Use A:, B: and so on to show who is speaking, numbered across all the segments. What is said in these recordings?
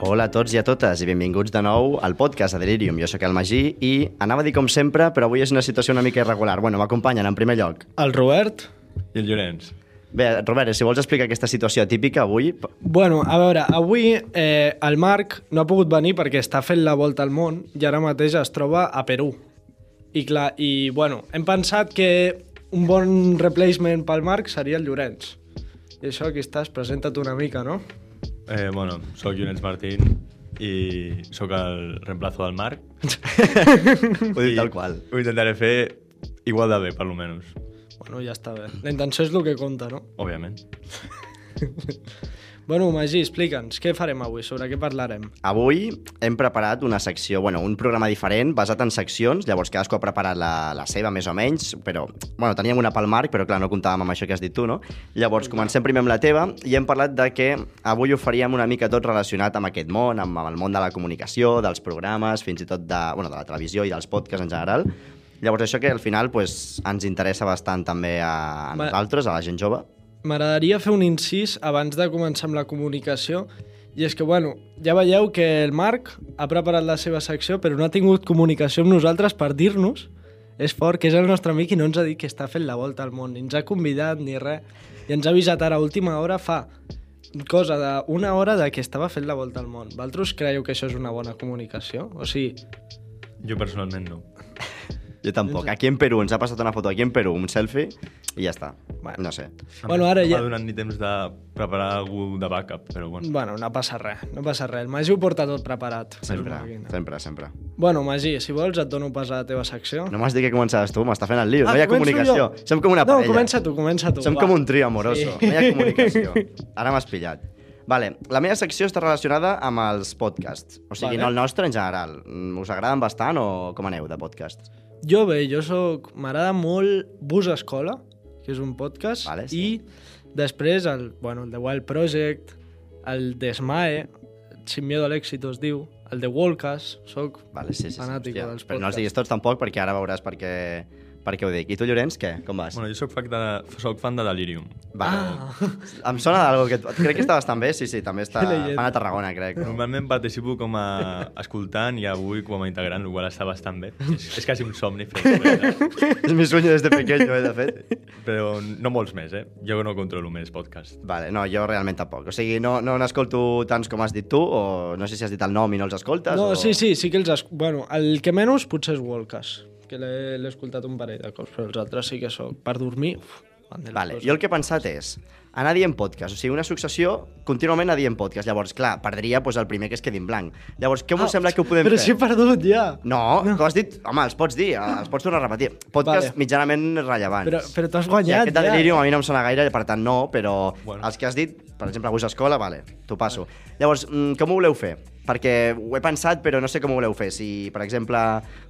A: Hola a tots i a totes i benvinguts de nou al podcast de Delirium. Jo sóc el Magí i anava a dir com sempre, però avui és una situació una mica irregular. Bueno, m'acompanyen en primer lloc.
B: El Robert?
C: I el Llorenç.
A: Bé, Robert, si vols explicar aquesta situació atípica avui... p-
B: Bueno, a veure, avui eh, el Marc no ha pogut venir perquè està fent la volta al món i ara mateix es troba a Perú. I clar, i bueno, hem pensat que un bon replacement pel Marc seria el Llorenç. I això aquí estàs, presenta't una mica, no?
C: Eh, bueno, sóc Llorenç Martín i sóc el reemplazo del Marc.
A: Ho dic tal qual.
C: Ho intentaré fer igual de bé, per almenys,
B: Bueno, ja està bé. La intenció és el que compta, no?
C: òbviament.
B: Bueno, Magí, explica'ns, què farem avui? Sobre què parlarem?
A: Avui hem preparat una secció, bueno, un programa diferent basat en seccions, llavors cadascú ha preparat la, la seva més o menys, però, bueno, teníem una pel Marc, però clar, no comptàvem amb això que has dit tu, no? Llavors comencem primer amb la teva i hem parlat de que avui ho faríem una mica tot relacionat amb aquest món, amb, amb el món de la comunicació, dels programes, fins i tot de, bueno, de la televisió i dels podcasts en general. Llavors això que al final pues, ens interessa bastant també a, a
B: Va.
A: nosaltres, a la gent jove.
B: M'agradaria fer un incís abans de començar amb la comunicació i és que, bueno, ja veieu que el Marc ha preparat la seva secció però no ha tingut comunicació amb nosaltres per dir-nos és fort, que és el nostre amic i no ens ha dit que està fent la volta al món, ni ens ha convidat ni res, i ens ha avisat ara a última hora fa cosa d'una hora de que estava fent la volta al món. Valtros creieu que això és una bona comunicació? O sigui,
C: Jo personalment no.
A: Jo tampoc. Aquí en Perú, ens ha passat una foto aquí en Perú, un selfie, i ja està.
B: Bueno.
A: No sé.
B: Bueno, ara
C: no
B: ja-
C: No m'ha donat ni temps de preparar algú de backup, però bueno.
B: bueno, no passa res, no passa res. El Magí ho porta tot preparat. És una
A: Sempre,
B: màquina.
A: sempre, sempre.
B: Bueno, Magí, si vols et dono pas a la teva secció.
A: No m'has dit que començaves tu, m'està fent el lío. no hi ha
B: Ah, començo
A: comunicació.
B: jo?
A: Som com una parella.
B: No, comença tu, comença tu.
A: Som
B: va.
A: com un trio amoroso.
B: Sí.
A: No hi ha comunicació. Ara m'has pillat. Vale, la meva secció està relacionada amb els podcasts. O sigui,
B: Vale.
A: vale. no el nostre en general. Mm, Us agraden bastant o com aneu de podcast?
B: Jo bé, jo sóc... M'agrada molt Bus Escola, que és un podcast,
A: Vale, sí.
B: i després el, bueno, el The Wild Project, el de SMAE, Sin Miedo al Éxito es diu, el de Wallcast, sóc...
A: Vale, sí, sí, sí.
B: Fanàtico dels
A: Però no els
B: podcasts.
A: diguis tots tampoc perquè ara veuràs per què, per què ho dic. I tu, Llorenç, què? Com vas?
C: Bueno, jo sóc fan de, sóc fan de Delirium.
A: Vale.
B: Ah,
A: Em sona d'algo que... Crec que està bastant bé, sí, sí, també està...
B: Que llegenda.
A: Fan a Tarragona, crec.
C: Normalment participo com a escoltant i avui com a integrant, igual està bastant bé. És, és quasi un somni fer
A: És mi sueño des de pequeño, eh, de fet.
C: però no molts més, eh? Jo no controlo més podcast.
A: Vale, no, jo realment tampoc. O sigui, no, no n'escolto tants com has dit tu, o no sé si has dit el nom i no els escoltes.
B: no,
A: o...
B: sí, sí, sí que els... Es... Bueno, el que menys potser és Wallcast, que l'he l'he escoltat un parell de cops, però els altres sí que sóc... Per dormir... Uf, van de les
A: Vale,
B: coses.
A: jo el que he pensat és anar dient podcast, o sigui, una successió contínuament anar dient podcast. Llavors, clar, perdria doncs, el primer que es quedi en blanc. Llavors, què us sembla que ho podem
B: Ah, Però
A: fer?
B: si he perdut, ja!
A: No, no. tu has dit... Home, els pots dir, els pots tornar a repetir. Podcast
B: Vale.
A: vale. mitjanament rellevants.
B: Però, però t'has
A: I
B: guanyat,
A: aquest de delirium a mi no em sona gaire, per tant no, però bueno.
C: Bueno.
A: els que has dit, per exemple, avui a escola, vale, t'ho passo. Llavors, mm, com ho voleu fer? Perquè ho he pensat, però no sé com ho voleu fer. Si, per exemple,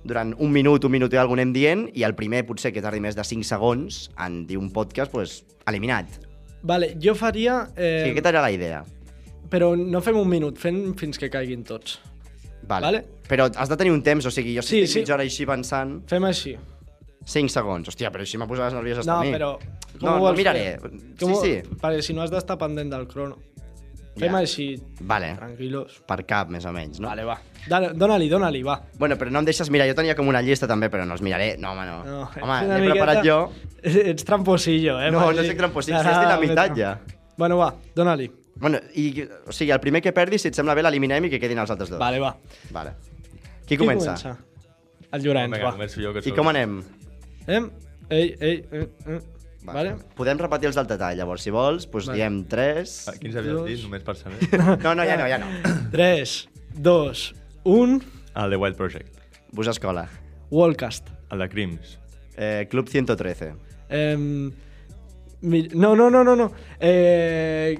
A: durant un minut, un minut i alguna anem dient, i el primer potser que tardi més de 5 segons en dir un podcast, doncs, eliminat.
B: Vale, jo faria...
A: O
B: Eh...
A: sigui, aquesta era la idea.
B: Però no fem un minut, fem fins que caiguin tots.
A: Vale.
B: Vale.
A: Però has de tenir un temps, o sigui, jo si sí,
B: Sí, sí.
A: estic mitja hora així pensant...
B: Fem així.
A: 5 segons. Hòstia, però així m'ha posat les nervioses
B: no,
A: a mi.
B: però...
A: Doncs No,
B: ho
A: no,
B: vols
A: miraré.
B: fer?
A: Sí,
B: ho-
A: sí.
B: Perquè si no has d'estar pendent del crono. Fem
A: Ja.
B: així,
A: Vale,
B: tranquilos.
A: per cap, més o menys, no?
B: Vale, va. Dale, Dóna-li, dóna-li, va.
A: Bueno, però no em deixes mirar, jo tenia com una llista també, però no els miraré. No, home, no.
B: No, ets
A: home,
B: una
A: l'he
B: miqueta-
A: preparat jo.
B: Ets tramposillo, eh?
A: No,
B: Magí?
A: no soc tramposillo,
B: No,
A: si has dit la
B: no,
A: meitat,
B: no.
A: ja. Doncs.
B: Bueno, va, dóna-li.
A: Bueno, i, o sigui, el primer que perdi, si et sembla bé, l'eliminem i que quedin els altres dos.
B: Vale, va.
A: Vale. Qui, comença?
B: El Llorenç,
C: Vinga,
B: va.
C: començo jo, que
A: Doncs I
C: sóc-
A: com anem?
B: Em? Ei, ei, ei, ei.
A: Va,
B: eh, Vale.
A: fem-ho. Podem repetir els del detall, llavors, si vols, doncs
B: Vale.
A: diem 3...
C: Ah, Quins havies
B: Dos.
C: dit, només per saber?
A: No, no, ja no, ja no.
B: 3, 2, 1,
C: El The Wild Project.
A: Bus Escola.
B: Wallcast.
C: El de Crims.
A: Eh, Club 113.
B: Em, mi- no, no, no, no, no. Eh,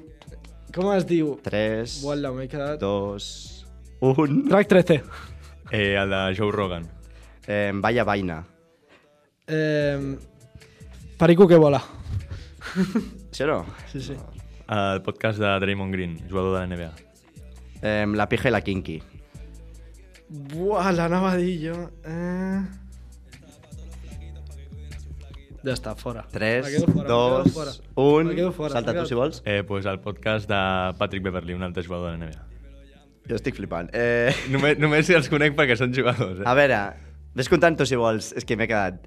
B: com es diu?
A: 3,
B: Uala, m'he quedat...
A: 2, 1...
B: Track 13.
C: Eh, el de Joe Rogan.
A: Eh, vaya vaina.
B: Eh, Perico que vola.
A: Sí o no?
B: Sí, sí.
C: El podcast de Draymond Green, jugador de la NBA.
A: Eh, la pija i la kinky.
B: Buah, l'anava a dir jo. Eh... Ja està, fora. Me
A: 3,
B: quedo fora, me quedo fora.
A: 2,
B: Me quedo
A: 1...
B: fora,
A: Salta
B: me
A: tu,
B: quedo
A: si vols.
C: Eh, pues el podcast de Patrick Beverly, un altre jugador de la NBA.
A: Jo estic flipant. Eh,
C: Només, només els conec perquè són jugadors, eh?
A: a veure, ves comptant tu, si vols. És que m'he quedat...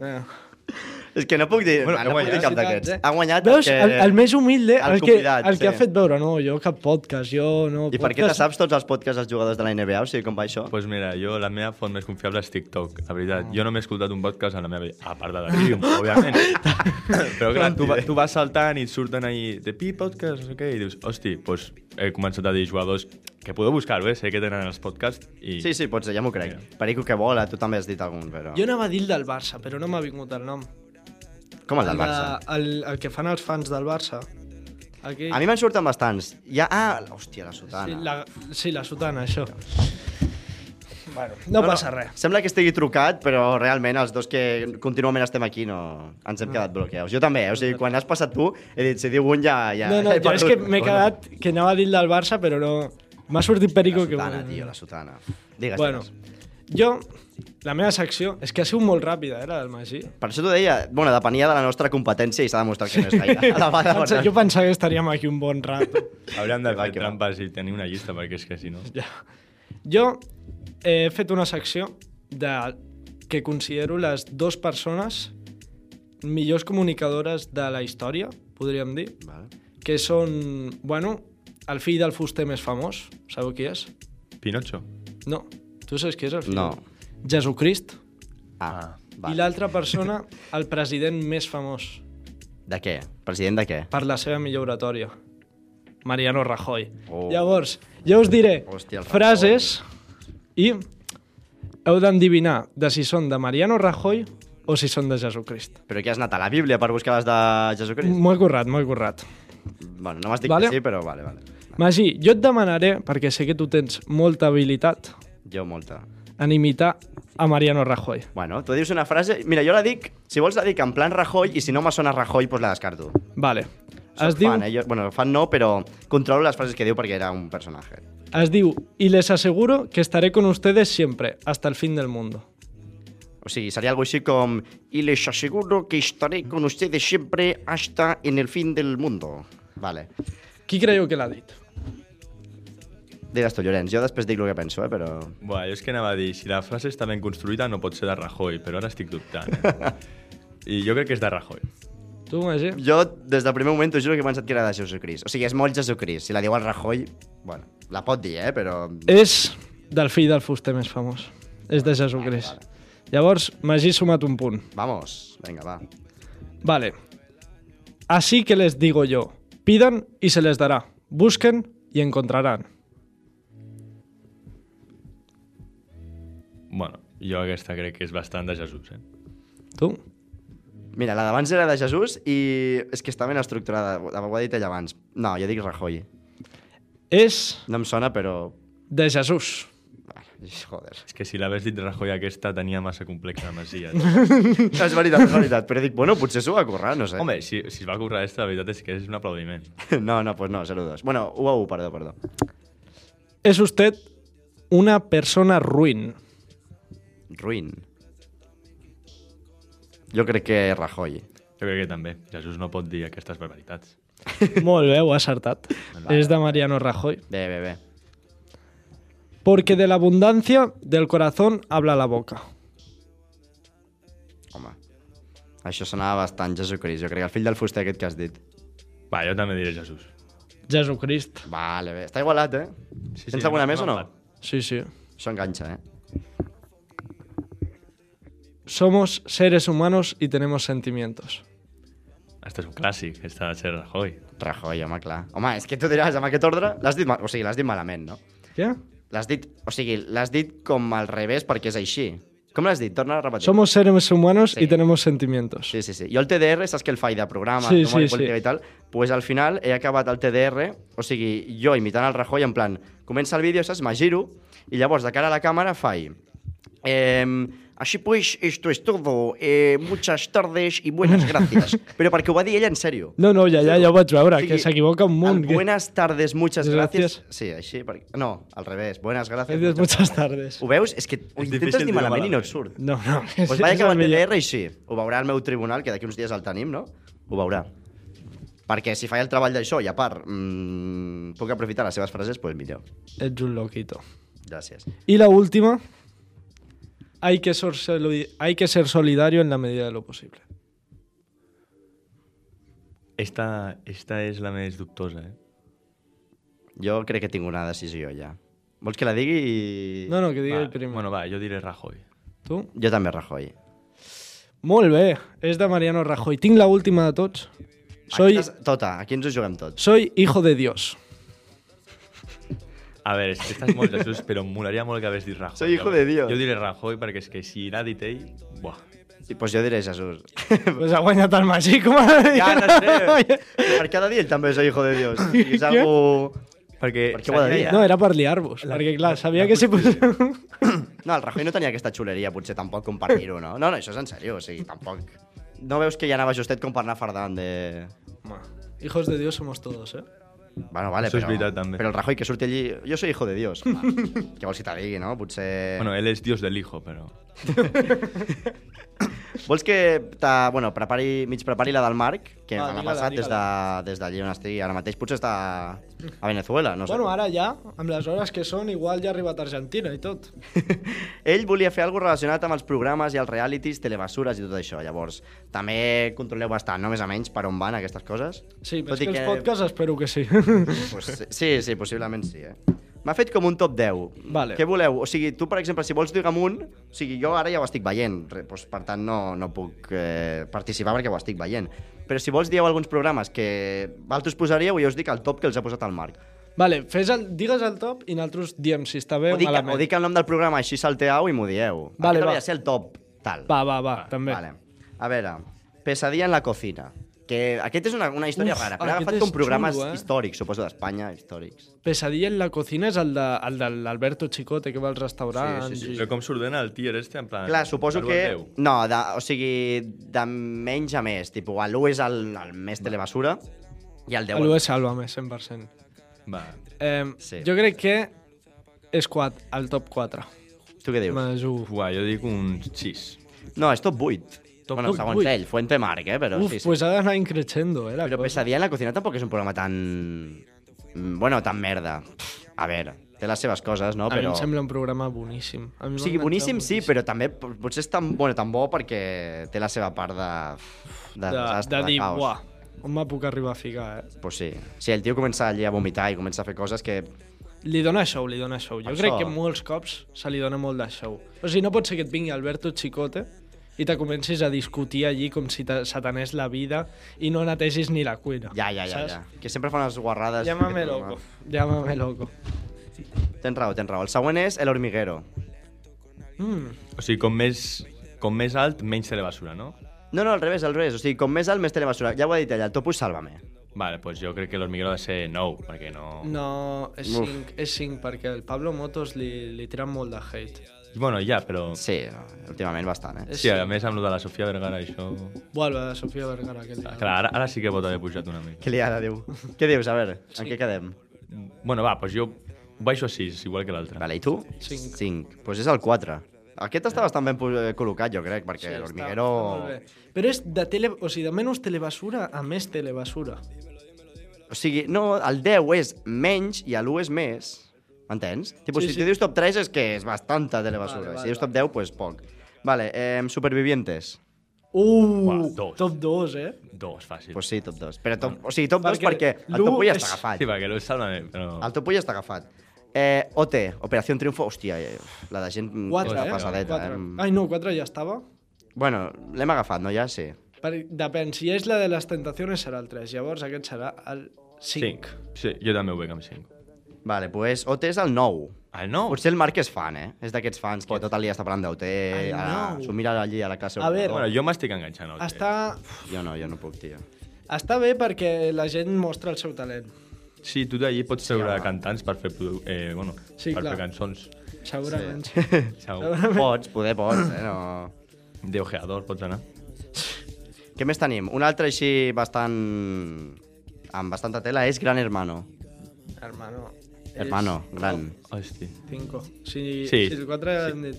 B: Eh.
A: És que no puc dir, bueno,
C: Bueno, ha
A: no puc dir
C: guanyat.
A: cap d'aquests.
B: Eh?
A: Ha guanyat
B: Veus,
A: el
B: el,
A: que...
B: el més humilde,
A: el
B: el, que,
A: convidat,
B: el
A: sí.
B: que ha fet veure, no, jo cap podcast, jo no...
A: I per què te saps tots els podcasts dels jugadors de la NBA? O sigui, com va això?
C: Doncs pues mira, jo la meva font més confiable és TikTok, la veritat. Jo no m'he escoltat un podcast a la meva vida, a part de la Trium, òbviament. Però clar, tu, va- tu vas saltant i et surten ahí de pi podcast, no sé què, i dius, hosti, doncs he començat a dir jugadors que podeu buscar-ho, eh? sé que tenen els podcasts i...
A: Sí, sí, pots dir, ja m'ho crec.
C: Mira.
A: Perico que vola, tu també has dit algun, però...
B: Jo anava a dir el del Barça, però no m'ha vingut el nom.
A: Com el del Barça?
B: de- El, el, que fan els fans del Barça. Aquí.
A: A mi me'n surten bastants. Ja, ah, hòstia, la sotana.
B: Sí, la, sí, la sotana, això. Bueno, no, passa res.
A: Sembla que estigui trucat, però realment els dos que contínuament estem aquí no... ens
B: Ah.
A: hem quedat bloqueats. Jo també, eh? o sigui, quan has passat tu, he dit, si diu un ja... ja
B: No, no,
A: he
B: jo és
A: perdut.
B: que m'he quedat que anava a dir el del Barça, però no... M'ha sortit
A: La
B: Perico que...
A: sotana, tio, la sotana. Digues,
B: Bueno,
A: bueno. digues.
B: jo, la meva secció, és que ha sigut molt ràpida, eh, la del Magí.
A: Per això t'ho deia, bueno, depenia de la nostra competència i s'ha demostrat que no és gaire. A la vegada,
B: Pensa, jo pensava que estaríem aquí un bon rato.
C: Hauríem de
A: Que va,
C: fer
A: que va.
C: trampes i tenir una llista, perquè és que si no...
B: Ja. Jo he fet una secció de que considero les dues persones millors comunicadores de la història, podríem dir,
A: Vale.
B: que són, bueno, el fill del fuster més famós, sabeu qui és?
C: Pinocho.
B: No. Tu saps qui és el fill?
A: No.
B: Jesucrist.
A: Ah,
B: Vale. I
A: vale.
B: l'altra persona, el president més famós
A: De què? President de què?
B: per la seva millor oratòria. Mariano Rajoy.
A: Oh.
B: Llavors, jo us diré
A: Hòstia, el Rajoy.
B: frases i heu d'endevinar de si són de Mariano Rajoy o si són de Jesucrist.
A: Però què has anat a la Bíblia per buscar les de Jesucrist?
B: Molt currat, molt currat.
A: Bueno, no m'has dit
B: Mm. Vale.
A: que sí, però vale, vale.
B: Magí, jo et demanaré, perquè sé que tu tens molta habilitat
A: Jo molta.
B: en imitar a Mariano Rajoy.
A: Bueno, tu dius una frase... Mira, jo la dic... Si vols la dic en plan Rajoy i si no me sona Rajoy, doncs la descarto.
B: Vale.
A: Soc
B: Es diu,
A: fan, eh? jo, bueno, fan no, però controlo les frases que diu perquè era un personatge.
B: es diu, y les aseguro que estaré con ustedes siempre, hasta el fin del mundo.
A: O sigui, seria algo així com Y les aseguro que estaré con ustedes siempre hasta en el fin del mundo. Vale.
B: Qui creieu que l'ha dit?
A: Digues tu, Llorenç. Jo després dic el que penso, eh? però...
C: Buah, jo és que anava a dir, si la frase està ben construïda no pot ser de Rajoy, però ara estic dubtant. Eh? I jo crec que és de Rajoy.
B: Tu, Magí?
A: Jo, des del primer moment, t'ho juro que he pensat que era de Jesucrist. O sigui, és molt Jesucrist. Si la diu el Rajoy, bueno, la pot dir, eh? però...
B: És del fill del fuster més famós. És de Jesucrist. Llavors, Magí ha sumat un punt.
A: Vamos, vinga, va.
B: Vale. Así que les digo yo. Pidan y se les dará. Busquen y encontrarán.
C: Bueno, jo aquesta crec que és bastant de Jesús, eh?
B: Tu?
A: Mira, la d'abans era de Jesús i és que està ben estructurada. Ho ha dit ell abans. No, jo dic Rajoy.
B: És
A: No em sona, però...
B: de Jesús.
A: Joder.
C: És que si l'hagués dit Rajoy aquesta tenia massa complex la Masia.
A: No, és veritat, és veritat. Però dic, bueno, potser s'ho va currar, no sé.
C: Home, si, si es va currar aquesta, la veritat és que és un aplaudiment.
A: No, no, pues no, 0-2. Bueno, 1 a 1, perdó, perdó.
B: És usted una persona ruin.
A: Ruin. Jo crec que Rajoy.
C: Jo crec que també. Jesús no pot dir aquestes barbaritats.
B: Molt bé, ho ha acertat. És de Mariano Rajoy.
A: Bé, bé, bé.
B: Porque de la abundancia del corazón habla la boca.
A: Home. Això sonava bastant Jesucrist. Jo crec que el fill del fuster aquest que has dit.
C: Va, jo també diré Jesús.
B: Jesucrist.
A: Vale, bé. Està igualat, eh?
C: Sí,
A: Tens alguna
C: no,
A: més o no?
C: empat.
B: Sí, sí.
A: Això enganxa, eh?
B: Somos seres humanos y tenemos sentimientos.
C: Este és un clàssic, està de ser Rajoy.
A: Rajoy, home, clar. Home, és que tu diràs, amb aquest ordre, l'has dit, mal... o sigui, l'has dit malament, no?
B: Què?
A: L'has dit, o sigui, l'has dit com al revés perquè és així. Com l'has dit? Torna a repetir.
B: Somos seres humanos
A: Sí.
B: y tenemos sentimientos.
A: Sí, sí, sí. Jo el TDR, saps que el faig de programa, sí,
B: Sí,
A: sí,
B: sí,
A: política
B: sí.
A: i tal, pues al final he acabat el TDR, o sigui, jo imitant el Rajoy, en plan, comença el vídeo, saps, me giro, i llavors de cara a la càmera faig... Ehm, així pues, esto es todo. Eh, muchas tardes y buenas gracias. Però perquè ho va dir ella en sèrio.
B: No, no, ja, ja, ja ho vaig veure,
A: O sigui,
B: que s'equivoca un munt.
A: el
B: que-
A: Buenas tardes, muchas gracias.
B: Gracias.
A: Sí, així, perquè... No, al revés. Buenas gracias.
B: Gracias, muchas tardes.
A: Ho veus? És que ho
C: És
A: intentes
C: difícil
A: dir
C: dir-ho
A: malament i no et
C: malament.
A: surt.
B: No, no.
A: Pues
B: és-
A: vaya Doncs
B: és
A: que va
B: el
A: el
B: millor.
A: TDR i sí. Ho veurà el meu tribunal, que d'aquí uns dies el tenim, no? Ho veurà. Perquè si faig el treball d'això i a part mmm, puc aprofitar les seves frases, doncs millor.
B: Ets un loquito.
A: Gràcies.
B: Y la última. Hay que, ser soli- hay que ser solidario en la medida de lo posible.
C: Esta, esta és la més dubtosa, eh?
A: Jo crec que tinc una decisió ja. Vols que la digui i...
B: No, no, que diga
C: Va,
B: el primero.
C: Bueno, va, jo diré Rajoy.
B: Tu?
A: Jo també, Rajoy.
B: Molt bé, és de Mariano Rajoy. Tinc la última de tots. Soy,
A: Aquí, t'has- tota, aquí ens ho juguem tots.
B: soy hijo de Dios.
C: A veure, és que estàs molt Jesús, però em molaria molt que hagués dit Rajoy.
A: Soy hijo de Dios.
C: Jo diré Rajoy perquè és que si l'ha dit ell... Buah.
A: Doncs pues jo diré Jesús.
B: Pues ha guanyat el Magí, com ara deia.
A: Ja, no sé. per cada dia ell també és hijo de Dios. I és algo...
C: Perquè,
A: Per què ho ha de dir?
B: No, era per liar-vos, perquè clar, sabia que si posem...
A: No, el Rajoy no tenia aquesta xuleria, potser tampoc com per dir-ho, no? No, no, això és en sèrio, o sigui, tampoc... No veus que ja anava justet com per anar fardant de...
B: Hijos de Dios somos todos, eh?
A: Bueno, vale,
C: Això és
A: però,
C: veritat, també.
A: però el Rajoy que surti allí... Jo soy hijo de Dios. Home, què vols que te digui, no? Potser...
C: Bueno, ell és dios del hijo, però...
A: Vols que te, bueno, prepari, mig prepari la del Marc, que
B: Va,
A: me l'ha
B: digue-la,
A: passat des de,
B: digue-la.
A: des d'allí on estigui. Ara mateix potser està a Venezuela, no sé.
B: Bueno, ara ja, amb les hores que són, igual ja ha arribat a Argentina i tot.
A: Ell volia fer alguna relacionat amb els programes i els realities, telebasures i tot això. Llavors, també controleu bastant, no? Més o menys, per on van aquestes coses.
B: Sí,
A: Tot
B: més
A: i
B: que els
A: Pues que-
B: podcasts espero que sí.
A: Pues, sí, sí, possiblement sí, eh? M'ha fet com un top 10.
B: Vale.
A: Què voleu? O sigui, tu, per exemple, si vols dir un, o sigui, jo ara ja ho estic veient, re- doncs, per tant no, no puc eh, participar perquè ho estic veient. Però si vols dieu alguns programes que vosaltres posaríeu, jo us dic el top que els ha posat el Marc.
B: Vale, fes el, digues el top i nosaltres diem si està bé
A: O
B: o,
A: dic,
B: malament.
A: o dic el nom del programa, així salteau i m'ho dieu.
B: Vale,
A: Aquest
B: va.
A: hauria de ser el top, tal.
B: Va, va, va, també.
A: Vale. A veure, Pesadilla en la cocina. Que aquest és una, una història
B: Uf, ah,
A: rara, però ha
B: aquest
A: agafat
B: és
A: com programes
B: xulo, eh?
A: històrics, suposo d'Espanya, històrics.
B: Pesadilla en la cocina és el, de, el de l'Alberto Chicote que va als restaurants.
A: Sí, sí,
B: i-
C: Però com s'ordena el tier este, en plan...
A: Clar, suposo
C: del
A: que...
C: Déu.
A: No, de, o sigui, de menys a més. Tipo, l'1 és el, el més telebasura i el 10...
B: El US Sálvame, 100%.
C: Va.
B: Eh,
A: Sí.
B: Jo crec que és 4, el top 4.
A: Tu què dius?
B: Me la jugo.
C: Ua, jo dic un 6.
A: No, és top 8.
B: Top
A: bueno,
B: vuit,
A: segons
B: vuit.
A: ell, Fuente Marc, eh? Però,
B: Uf,
A: sí, sí.
B: pues ha d'anar increixendo, eh, la
A: però
B: cosa.
A: Pesadilla en la cocina tampoc és un programa tan... mm, Bueno, tan merda. Pff, A veure, té les seves coses, no?
B: A mi
A: Però...
B: em sembla un programa boníssim. A mi
A: O
B: m'ha
A: sigui,
B: enganxat
A: boníssim sí, però també p- potser és tan, bueno, tan bo perquè té la seva part de... De,
B: de,
A: desastre,
B: de dir,
A: caos.
B: buah, on me puc arribar a ficar, eh?
A: Pues sí. Si el tio comença allí a vomitar i comença a fer coses que...
B: Li dona show, li dona show. Jo
A: Per
B: crec
A: això.
B: que molts cops se li dona molt de show. O sigui, no pot ser que et vingui Alberto Chicote i te comencis a discutir allí com si te- se t'anés la vida i no netegis ni la cuina.
A: Ja, ja, ja,
B: saps?
A: ja. Que sempre fan les guarrades.
B: Llámame
A: d'aquest
B: loco,
A: programa.
B: llámame loco.
A: Tens raó, tens raó. El següent és El Hormiguero.
B: Mm.
C: O sigui, com més, com més alt, menys telebasura, no?
A: No, no, al revés, al revés. O sigui, com més alt, més telebasura. Ja ho ha dit ella, el topo és Sálvame.
C: Vale, doncs pues jo crec que l'Hormiguero ha de ser 9, perquè no...
B: No, és
A: Uf.
B: 5, és 5, perquè el Pablo Motos li, li tira molt de hate.
C: Bueno, ja, però... Sí,
A: Sí, últimament bastant, eh?
B: És
C: a més, amb lo de la Sofia Vergara, això...
B: Vuelve a Sofia Vergara, que li
C: Ah, Clar, ara, ara sí que pot haver pujat una mica.
A: Què li ha de dir? Què dius? A veure, en què quedem?
C: Bueno, va, doncs jo baixo a 6, igual que l'altre.
A: Vale, i tu? 5.
B: Cinc.
A: Doncs pues és el 4. Aquest està bastant ben po- eh, col·locat, jo crec, perquè
B: està-
A: l'Hormiguero...
B: està molt bé. Però és de, tele, o sigui, de menys telebasura a més telebasura.
A: O sigui, no, el 10 és menys i l'1 és més. M'entens? Tipo,
B: Sí,
A: si
B: sí.
A: tu dius top 3 és que és bastanta de la basura.
B: Vale, vale,
A: si dius top 10, pues poc. Vale, eh, supervivientes.
B: Uh,
C: Uah, dos.
B: top 2, eh?
C: Dos, fàcil.
A: Pues sí, top 2. Però top, o sigui, top 2
B: Perquè
A: perquè, el
B: l'u
A: top 1 ja
B: és-
A: està agafat.
C: Sí, perquè l'ho sálvame, però...
A: El top 1 ja està agafat. Eh, OT, Operació Triunfo, hòstia, eh, la de gent
B: 4,
A: està
B: eh?
A: passadeta.
B: Quatre.
A: Eh?
B: Ai, no, 4 ja estava.
A: Bueno, l'hem agafat, no? Ja sí.
B: Per, depèn, si és la de les tentacions serà el 3, llavors aquest serà el 5.
C: Sí, jo també ho veig amb 5.
A: Vale, pues, OT és el 9.
C: El 9?
A: Potser el Marc és fan, eh? És d'aquests fans que tot el dia està parlant d'OT,
B: El
A: a-
B: nou.
A: s'ho mira allí a la classe.
B: A veure.
C: Bueno, jo m'estic enganxant al
B: Està,
A: Jo no, jo no puc, tio.
B: està bé perquè la gent mostra el seu talent,
C: Ted. Sí, tu d'allí pots treure
A: home.
C: cantants per fer, produ- eh, bueno,
B: Sí,
C: per
B: clar.
C: fer cançons.
B: segurament.
A: Sí.
B: Sí.
C: Segur.
A: Pots, poder pots, eh? No...
C: De ojeador pots anar.
A: Què més tenim? Un altre així bastant... amb bastanta tela és Gran Hermano.
B: Hermano.
A: Hermano, gran.
C: Hosti.
B: 5. Si,
C: Sí.
B: sí. si el 4 sí. hem dit...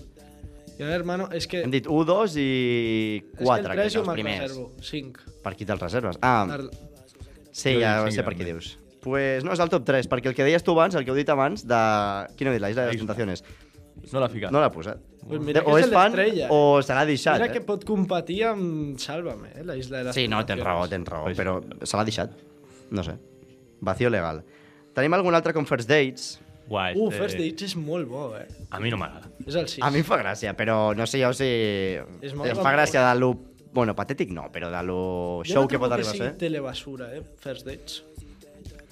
B: I un hermano, és que...
A: Hem dit 1, 2 i 4, que
B: és que el 3 jo
A: són els
B: me'l
A: primers.
B: reservo, 5.
A: Per qui te'ls reserves? Ah,
B: El...
A: sí,
C: Jo
A: ja
C: dic cinc
A: sé per qui
C: també.
A: dius. Pues no, és el top 3, perquè el que deies tu abans, el que heu dit abans, de... Quina heu dit? La Isla de les Tentaciones.
C: No l'ha ficat.
A: No l'ha posat.
B: Pues mira
A: De-
B: que
A: o
B: és
A: és fan
B: l'estrella, eh?
A: o se l'ha deixat.
B: Mira
A: eh?
B: que pot competir amb Sálvame, eh? la isla de les
A: Sí, no, tens raó, tens raó, però se l'ha deixat. No sé. Vacío legal. Tenim algun altre com First Dates?
C: Guai.
B: Uh,
C: eh,
B: First Dates és molt bo, eh?
C: A mi no m'agrada.
B: És el 6.
A: A mi em fa gràcia, però no sé jo si...
B: És molt
A: Em fa
B: amor.
A: gràcia de lo... Bueno, patètic no, però de lo show que pot arribar a ser.
B: Jo no trobo que sigui telebasura, eh? First Dates.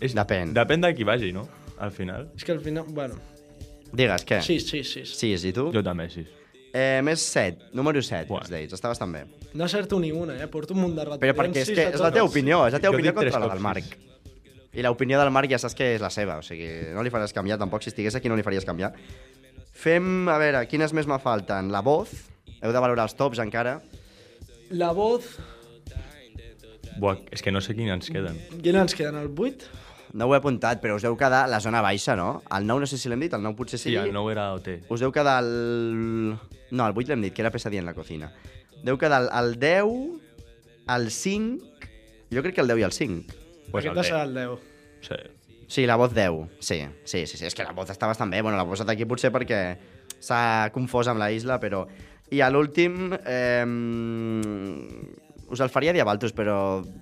C: És,
A: Depèn.
C: Depèn de qui vagi, no? Al final.
B: És que al final, bueno...
A: Digues, què?
B: Sí, sí, sí. sí.
A: Sí, i tu?
C: Jo també, sí.
A: Eh, més 7, número 7,
C: Buah.
A: First Dates, està bastant bé.
B: No acerto ni una, eh? Porto un munt de ratolins.
A: Però perquè és
B: sis
A: que
B: de
A: és la teva
B: totes.
A: opinió, és la teva
C: Jo
A: opinió
C: dic tres
A: contra la del
C: cops
A: Marc. I l'opinió del Marc ja saps que és la seva, o sigui, no li faràs canviar tampoc, si estigués aquí no li faries canviar. Fem, a veure, quines més me falten? La voz, heu de valorar els tops encara.
B: La voz...
C: Buah, és que no sé quins ens queden.
B: Quina ens queden? El 8?
A: No ho he apuntat, però us deu quedar a la zona baixa, no? El 9 no sé si l'hem dit, el 9 potser sí.
C: Sí, el 9 era OT.
A: Us deu quedar el... No, el 8 l'hem dit, que era pesadilla en la cocina. Deu quedar el, el 10, el 5... Jo crec que el 10 i el 5.
C: Pues el
B: Aquest serà
C: 10.
B: el 10.
C: Sí.
A: Sí, la voz 10. Sí, sí, sí, sí. És que la voz està bastant bé. Bueno, la posat aquí potser perquè s'ha confós amb la isla, però... I a l'últim... Eh, us el faria dir a Valtros, però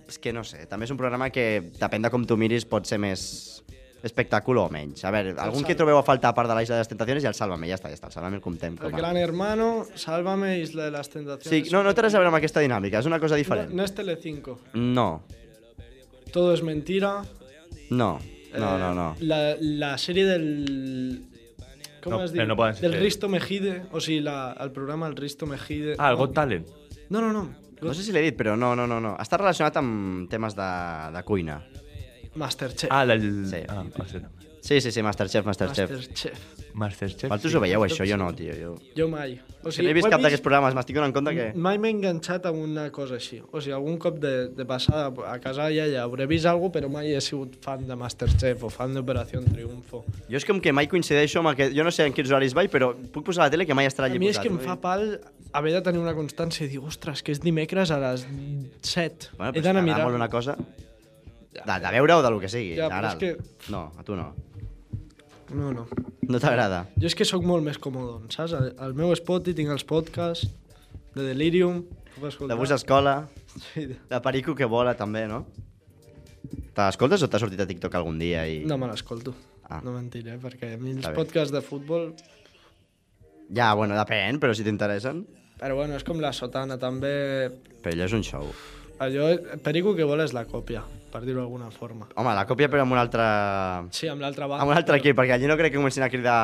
A: és que no sé. També és un programa que, depèn de com tu miris, pot ser més espectacle o menys. A veure, algun que trobeu a faltar a part de la Isla de les Tentaciones i el Sálvame, ja està, ja està. El Sálvame el comptem
B: El
A: com a...
B: Gran Hermano, Sálvame, Isla de las
A: Sí,
B: Tentaciones.
A: no, no té res a veure amb aquesta dinàmica, és una cosa diferent.
B: No, no es Telecinco.
A: No,
B: Todo es mentira.
A: no, no,
B: Eh,
A: no, no.
B: La, la serie del... Com
C: No,
B: es diu?
C: eh, no poden ser
B: del
C: series.
B: Risto Mejide, o sigui, la, el programa El Risto Mejide.
C: Ah, el
B: no.
C: Got Talent.
B: No, no, no.
A: No sé si l'he dit, però no, no, no, no. Està relacionat amb temes de, de cuina.
B: Masterchef.
C: Ah, el...
A: Sí.
C: Ah, va ser també.
A: Sí, sí, sí, Masterchef, Masterchef. Master...
B: Masterchef.
C: Masterchef.
A: Vosaltres ho veieu, això? Jo no, tio. Jo...
B: Jo mai. O
A: Si no he
B: ho
A: vist
B: he Mm,
A: cap d'aquests programes, m'estic donant compte que...
B: Mai m'he enganxat a una cosa així. O sigui, algun cop de, de passar a casa ja, ja hauré vist alguna però mai he sigut fan de Masterchef o fan d'Operació Triunfo.
A: Jo és com que mai coincideixo amb aquest... Jo no sé en quins horaris vaig, però puc posar a la tele que mai estarà
B: A
A: allí
B: mi és
A: posat.
B: que em fa pal haver de tenir una constància i dir, ostres, que és dimecres a les 7.
A: Bueno,
B: He
A: però
B: d'anar a
A: si
B: mirar.
A: t'agrada molt una cosa... De, de veure o de lo que sigui,
B: Ja,
A: ja,
B: però és
A: t'agrada. Que... No, a tu no.
B: No, no.
A: No t'agrada.
B: Jo és que sóc molt més còmode, saps? Al, al meu Spotify tinc els podcasts de Delirium. Puc escoltar.
A: De bus a escola,
B: Sí.
A: de perico que vola també, no? Te l'escoltes o t'ha sortit a TikTok algun dia i...
B: No me l'escolto.
A: Ah.
B: No mentiré, perquè a mi els
A: Està bé.
B: podcasts de futbol...
A: Ja, bueno, depèn, però si t'interessen.
B: Però bueno, és com la sotana, també...
A: Però allò és un show.
B: Allò, Perico que vol és la còpia, per dir-ho d'alguna forma.
A: Home, la còpia però amb un altre...
B: Sí, amb l'altra banda.
A: Amb un altre equip, perquè allí no crec que comencin a cridar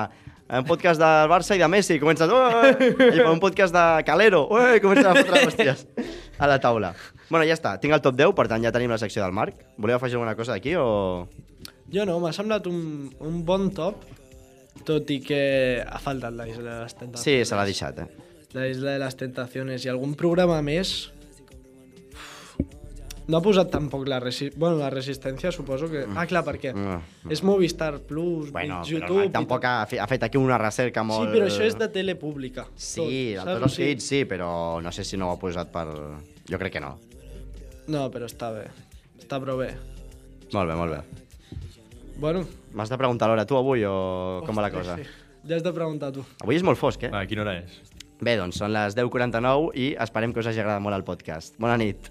A: un podcast del Barça i de Messi, comencen... "Ué!" Allí fa un podcast de Calero, ué, comencen a fotre hòsties a la taula. Bueno, ja està, tinc el top 10, per tant ja tenim la secció del Marc. Voleu afegir alguna cosa aquí o...?
B: Jo no, m'ha semblat un, un bon top, tot i que ha faltat la Isla de les Tentacions.
A: Sí, se l'ha deixat, eh?
B: La Isla de les Tentaciones i algun programa més... No ha posat tampoc la, resi... bueno, la resistència, suposo que... Ah, clar, perquè
A: Mm.
B: és Movistar Plus,
A: Bueno,
B: YouTube...
A: però el
B: i
A: Marc tampoc
B: tot.
A: ha, fe- ha fet aquí una recerca molt...
B: Sí, però això és de tele pública.
A: Sí, de
B: tot,
A: tots els
B: saps?
A: hits, sí, però no sé si no ho ha posat per... Jo crec que no.
B: No, però està bé. Està prou bé.
A: Molt bé, molt bé.
B: Bueno,
A: M'has de preguntar l'hora tu avui o com va la cosa?
B: Sí. Ja has de preguntar tu.
A: Avui és molt fosc, eh?
C: Va, quina hora és?
A: Bé, doncs són les 10.49 i esperem que us hagi agradat molt el podcast. Bona nit.